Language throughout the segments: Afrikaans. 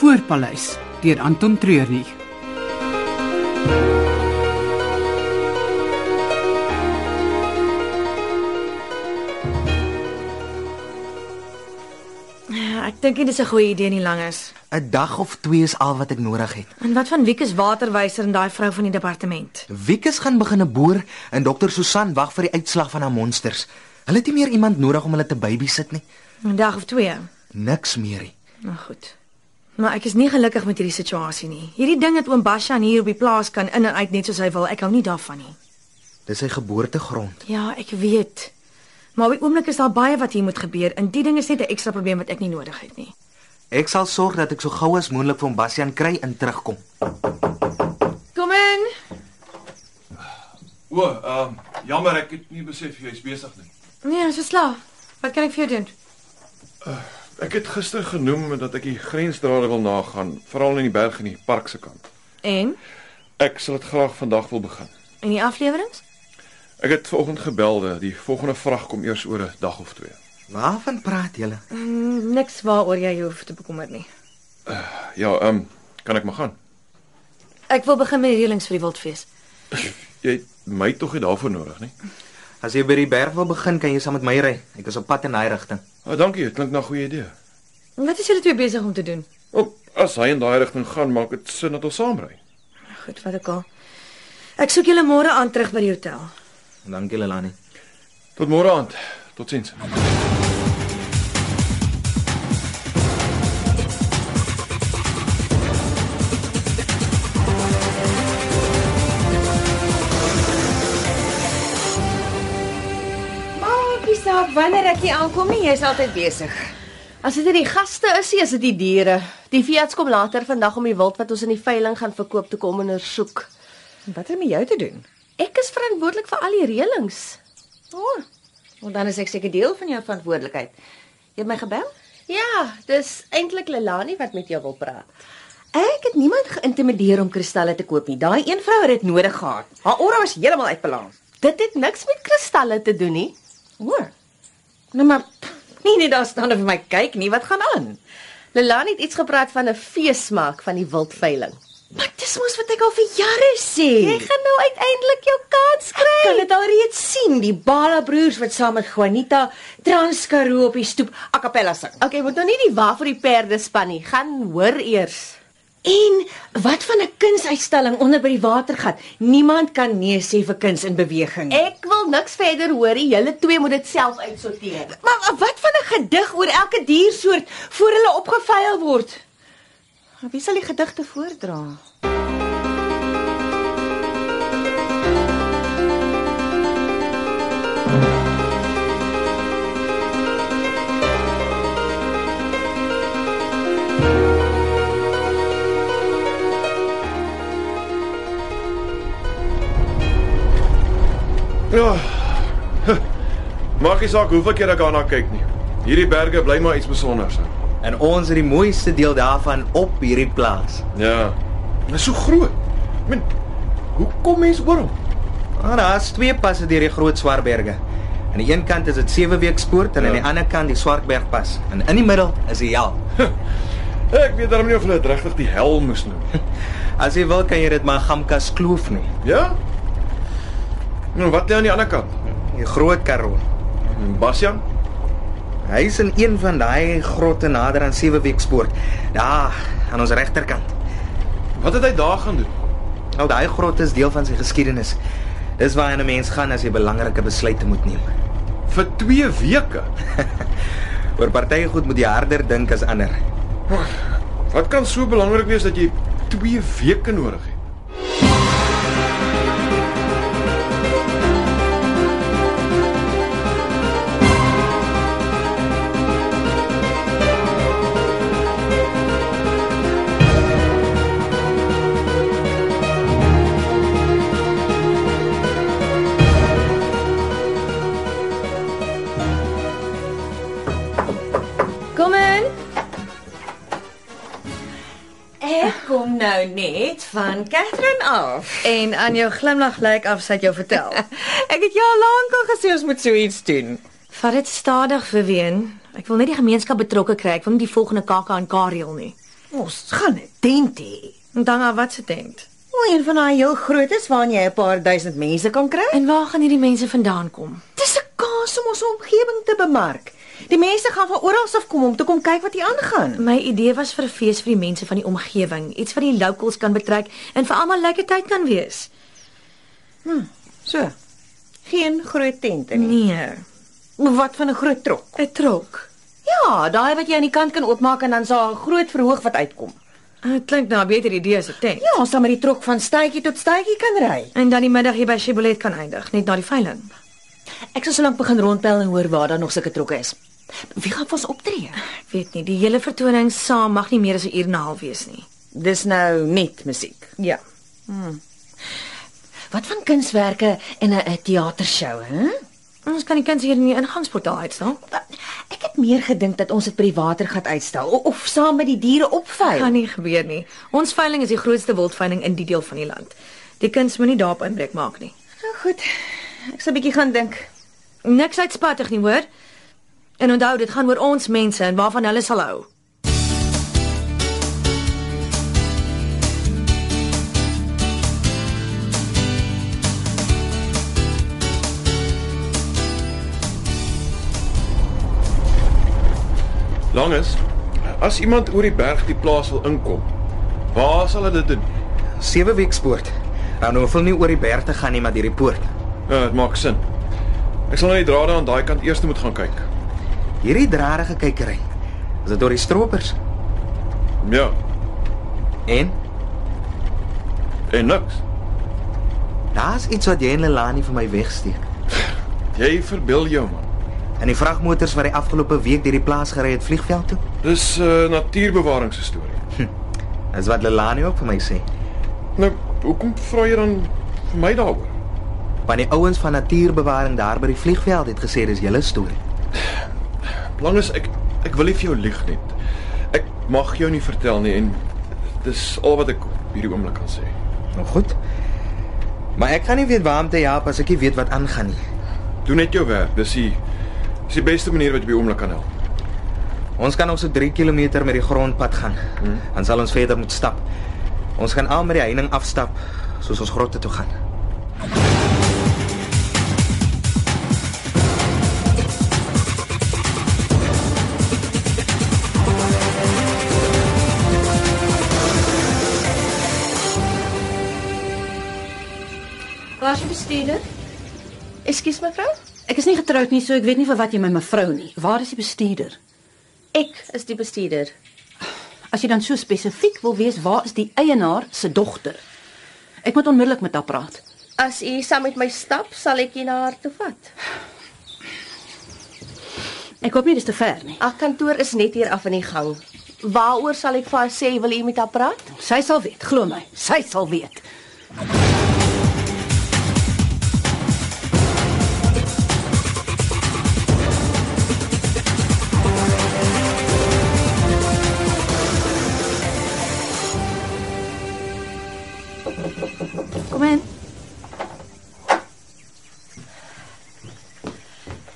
Voorpaleis deur Anton Treurnig. Ek dink nie dis 'n goeie idee nie langes. 'n Dag of twee is al wat ek nodig het. En wat van Wiekus waterwyser en daai vrou van die departement? Wiekus gaan begine boer en dokter Susan wag vir die uitslag van haar monsters. Hulle het nie meer iemand nodig om hulle te babysit nie. 'n Dag of twee. Niks meer nie. Nou goed. Maar ek is nie gelukkig met hierdie situasie nie. Hierdie ding dat oom Bashan hier op die plaas kan in en uit net soos hy wil, ek hou nie daarvan nie. Dis sy geboortegrond. Ja, ek weet. Maar op die oomblik is daar baie wat hier moet gebeur en die ding is net 'n ekstra probleem wat ek nie nodig het nie. Ek sal sorg dat ek so gou as moontlik van Bastian kry en terugkom. Kom in. O, ehm jammer ek het nie besef jy's besig nie. Nee, ons is slaap. Wat kan ek vir jou doen? Ek het gister genoem dat ek die grensdrade wil nagaan, veral in die berg en die park se kant. En Ek sal dit graag vandag wil begin. en die afleweringe? Ek het vanoggend gebelde, die volgende vrag kom eers oor 'n dag of twee. Waarvan praat julle? Mm, niks waaroor jy hoef te bekommer nie. Ja, ehm kan ek maar gaan? Ek wil begin met die reëlings vir die wildfees. Jy het my tog nie daarvoor nodig nie. As jy by die berg wil begin, kan jy saam met my ry. Ek is op pad in daai rigting. Ah, dankie, dit klink na 'n goeie idee. Wat is julle twee besig om te doen? Ook as hy in daai rigting gaan, maak dit sin dat ons saam ry. Goed, wat ek al. Ek soek julle môre aan terug by die hotel. Dankie Lelani. Tot môre aand. Totsiens. Maakie saak wanneer ek hier aankom nie, jy's altyd besig. As dit nie die gaste is nie, is dit die diere. Die veearts kom later vandag om die wild wat ons in die veiling gaan verkoop te kom ondersoek. Wat het met jou te doen? Ek is verantwoordelik vir al die reëlings. O, oh, want dan is ek seker deel van jou verantwoordelikheid. Jy het my gebel? Ja, dis eintlik Lelani wat met jou wil praat. Ek het niemand geïntimideer om kristalle te koop nie. Daai een vrou het dit nodig gehad. Haar aura was heeltemal uit balans. Dit het niks met kristalle te doen nie. Hoor. Nou maar nie net daar staan en vir my kyk nie. Wat gaan aan? Lelani het iets gepraat van 'n feesmaak van die wildveiling. Maar dis mos wat ek al vir jare sê. Jy gaan nou uiteindelik jou kans kry. Ek kan dit alreeds sien, die Bala broers wat saam met Juanita Transkaroo op die stoep a cappella sing. Okay, moet nou nie die wa vir die perde span nie. Gaan hoor eers. En wat van 'n kunsuitstalling onder by die watergat? Niemand kan nee sê vir kuns in beweging. Ek wil niks verder hoor nie. Julle twee moet dit self uitsorteer. maar wat van 'n gedig oor elke diersoort voor hulle opgeveil word? Wie sal die gedigte voordra? Ja. Huh. Maak nie saak hoeveel keer ek daarna kyk nie. Hierdie berge bly maar iets besonders. Hè. En ons het die mooiste deel daarvan op hierdie plaas. Ja. Dit is so groot. Ek meen, hoe kom mense oor hom? Maar daar's Ah, twee passe deur die groot Swartberge. Aan die een kant is dit 7 week spoort en aan die Ja. ander kant die Swartbergpas. En in die middel is die hel. Ek weet darem nie of hulle dit regtig die hel moes noem. As jy wil kan jy dit maar Gamkas Kloof nie. Ja? Nou wat lê aan die ander kant? Die groot Karoo. En Basjan? Hy is in een van daai grotte nader aan 7 week spoort. Daar aan ons regterkant. Wat het hy daar gaan doen? Nou daai grotte is deel van sy geskiedenis. Dis waar 'n mens gaan as jy belangrike besluite moet neem. Vir 2 weke. Oor partye goed moet jy harder dink as ander. Wat kan so belangrik wees dat jy 2 weke nodig het? Kom in. Ek kom nou net van Katherine af. En aan jou glimlag lyk af sy het jou vertel. Ek het jou al lank al gesê ons moet so iets doen. Vat dit stadig vir ween. Ek wil net die gemeenskap betrokke kry. Ek wil nie die volgende kaka aan Kariel nie. Ons gaan 'n tent hê. Danga, wat se tent? O, een van daai heel grootes waarin jy 'n paar duisend mense kan kry. En waar gaan hierdie mense vandaan kom? Dis 'n kans om ons omgewing te bemark. Die mense gaan van oral af kom om te kom kyk wat hier aangaan. My idee was vir 'n fees vir die mense van die omgewing, iets wat die locals kan betrek en vir almal lekker tyd kan wees. So. Geen groot tente nie. Nee, Maar wat van 'n groot trok? 'n trok. Ja, daai wat jy aan die kant kan oopmaak en dan sal 'n groot verhoog wat uitkom. Ah, Dit klink na 'n beter idee as 'n tent. Ja, ons sal met die trok van stytjie tot stytjie kan ry. En dan die middag hier by Shebolet kan eindig, net na die veiling. Ek sal so lank begin rondpel en hoor waar daar nog sulke trokke is. Wie gaan vir ons optree? Ek weet nie, die hele vertoning saam mag nie meer as 'n uur en 'n half wees nie. Dis nou net musiek. Ja. Wat van kunswerke en 'n- 'n teatershow, hè? Ons kan die kinders hier in die ingangsportaal uitstel. Ek het meer gedink dat ons dit by die watergat uitstel o- of saam met die diere opvy. Gaan nie gebeur nie. Ons veiling is die grootste wildveiling in die deel van die land. Die kinders moenie daarop inbreuk maak nie. Nou goed. Ek sal 'n bietjie gaan dink. Niks uitspattig nie, hoor? En onthou, dit gaan oor ons mense en waarvan hulle sal hou. Langes, as iemand oor die berg die plaas wil inkom, waar sal hulle dit doen? Sewe weekspoort. Dan hoef hulle nie oor die berg te gaan nie, maar deur die poort. Ja, dit maak sin. Ek sal na die drade aan daai kant eers moet gaan kyk. Hierdie drarige kykery. Is dit deur die stroopers? Ja, En en niks. daar's iets wat jy en Lelani vir my wegsteek. Jy verbeel jou man. En die vragmotors wat die afgelope week deur die plaas gery het vliegveld toe. Dis 'n uh, natuurbewaringsstorie. Dis wat Lelani ook vir my sê. Nou, hoekom vra jy dan vir my daaroor? Want die ouens van natuurbewaring daar by die vliegveld het gesê dis julle storie. Lang is ek ek wil nie vir jou lieg net. Ek mag jou nie vertel nie en dis al wat ek op hierdie oomblik kan sê. Nou goed. Maar ek kan nie weet waarom te jaap as ek nie weet wat aangaan nie. Doen net jou werk. Dis die dis die beste manier wat jy by oomblik kan help. Ons kan ons so 3 km met die grondpad gaan. Hmm. Dan sal ons verder moet stap. Ons gaan al met die heining afstap soos ons grotte toe gaan. Waar's die bestuurder? Ekskuus mevrou. Ek is nie getroud nie, so ek weet nie vir wat jy my mevrou nie. Waar is die bestuurder? Ek is die bestuurder. As jy dan so spesifiek wil wees, waar is die eienaar se dogter? Ek moet onmiddellik met haar praat. As u saam met my stap, sal ek u na haar toe vat. Ek hoop nie dis te ver nie. Haar kantoor is net hier af in die gang. Waaroor sal ek vir haar sê wil u met haar praat? Sy sal weet, glo my. Sy sal weet. Kom in.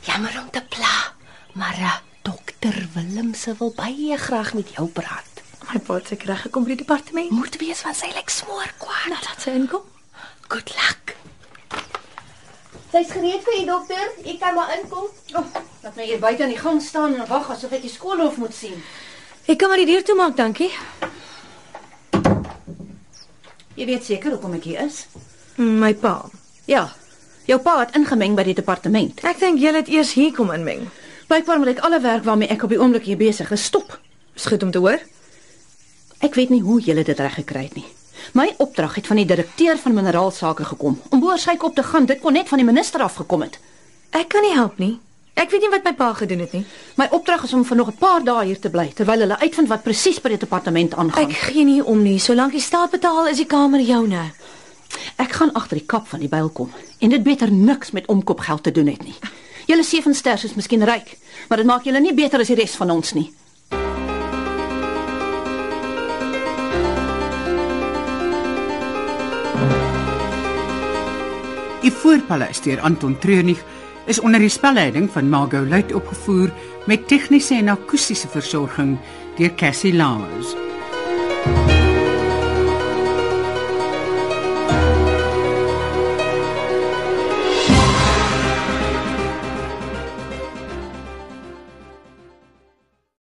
Jammer om te pla, maar uh, dokter Willemse wil baie graag met jou praat. My pa het seker reg gekom by die departement. Moet wees van sy lyk like smoor kwaad. Nou laat sy inkom. Good luck. Sy's gereed vir u dokter. U kan maar inkom. Oh, laat my hier buite aan die gang staan en wag asof ek die skoolhof moet sien. Ek kan maar die deur toemaak, dankie. Jy weet seker hoekom ek hier is? Mm, My pa. Ja. Jou pa het ingemeng by die departement. Ek dink jy het eers hier kom inmeng. Blykbaar moet ek alle werk waarmee ek op die oomblik hier besig is stop. Is goed om te hoor. Ek weet nie hoe julle dit reg gekry het nie. My opdrag het van die direkteur van mineraalsake gekom om boorsyk op te gaan. Dit kon net van die minister af gekom het. Ek kan nie help nie. Ek weet nie wat my pa gedoen het nie. My opdrag is om vir nog 'n paar dae hier te bly terwyl hulle uitvind wat presies by die departement aangaan. Ek Ek, gee nie om nie. Solank die staat betaal, is die kamer joune. ek gaan agter die kap van die byl kom en dit beter niks met omkopgeld te doen het nie. Julle sewe sters is miskien ryk, maar dit maak julle nie beter as die res van ons nie. Die Voorpaleis deur Anton Treurnig is onder die spelleiding van Margot Luit opgevoer met tegniese en akoestiese versorging deur Cassie Lawrence.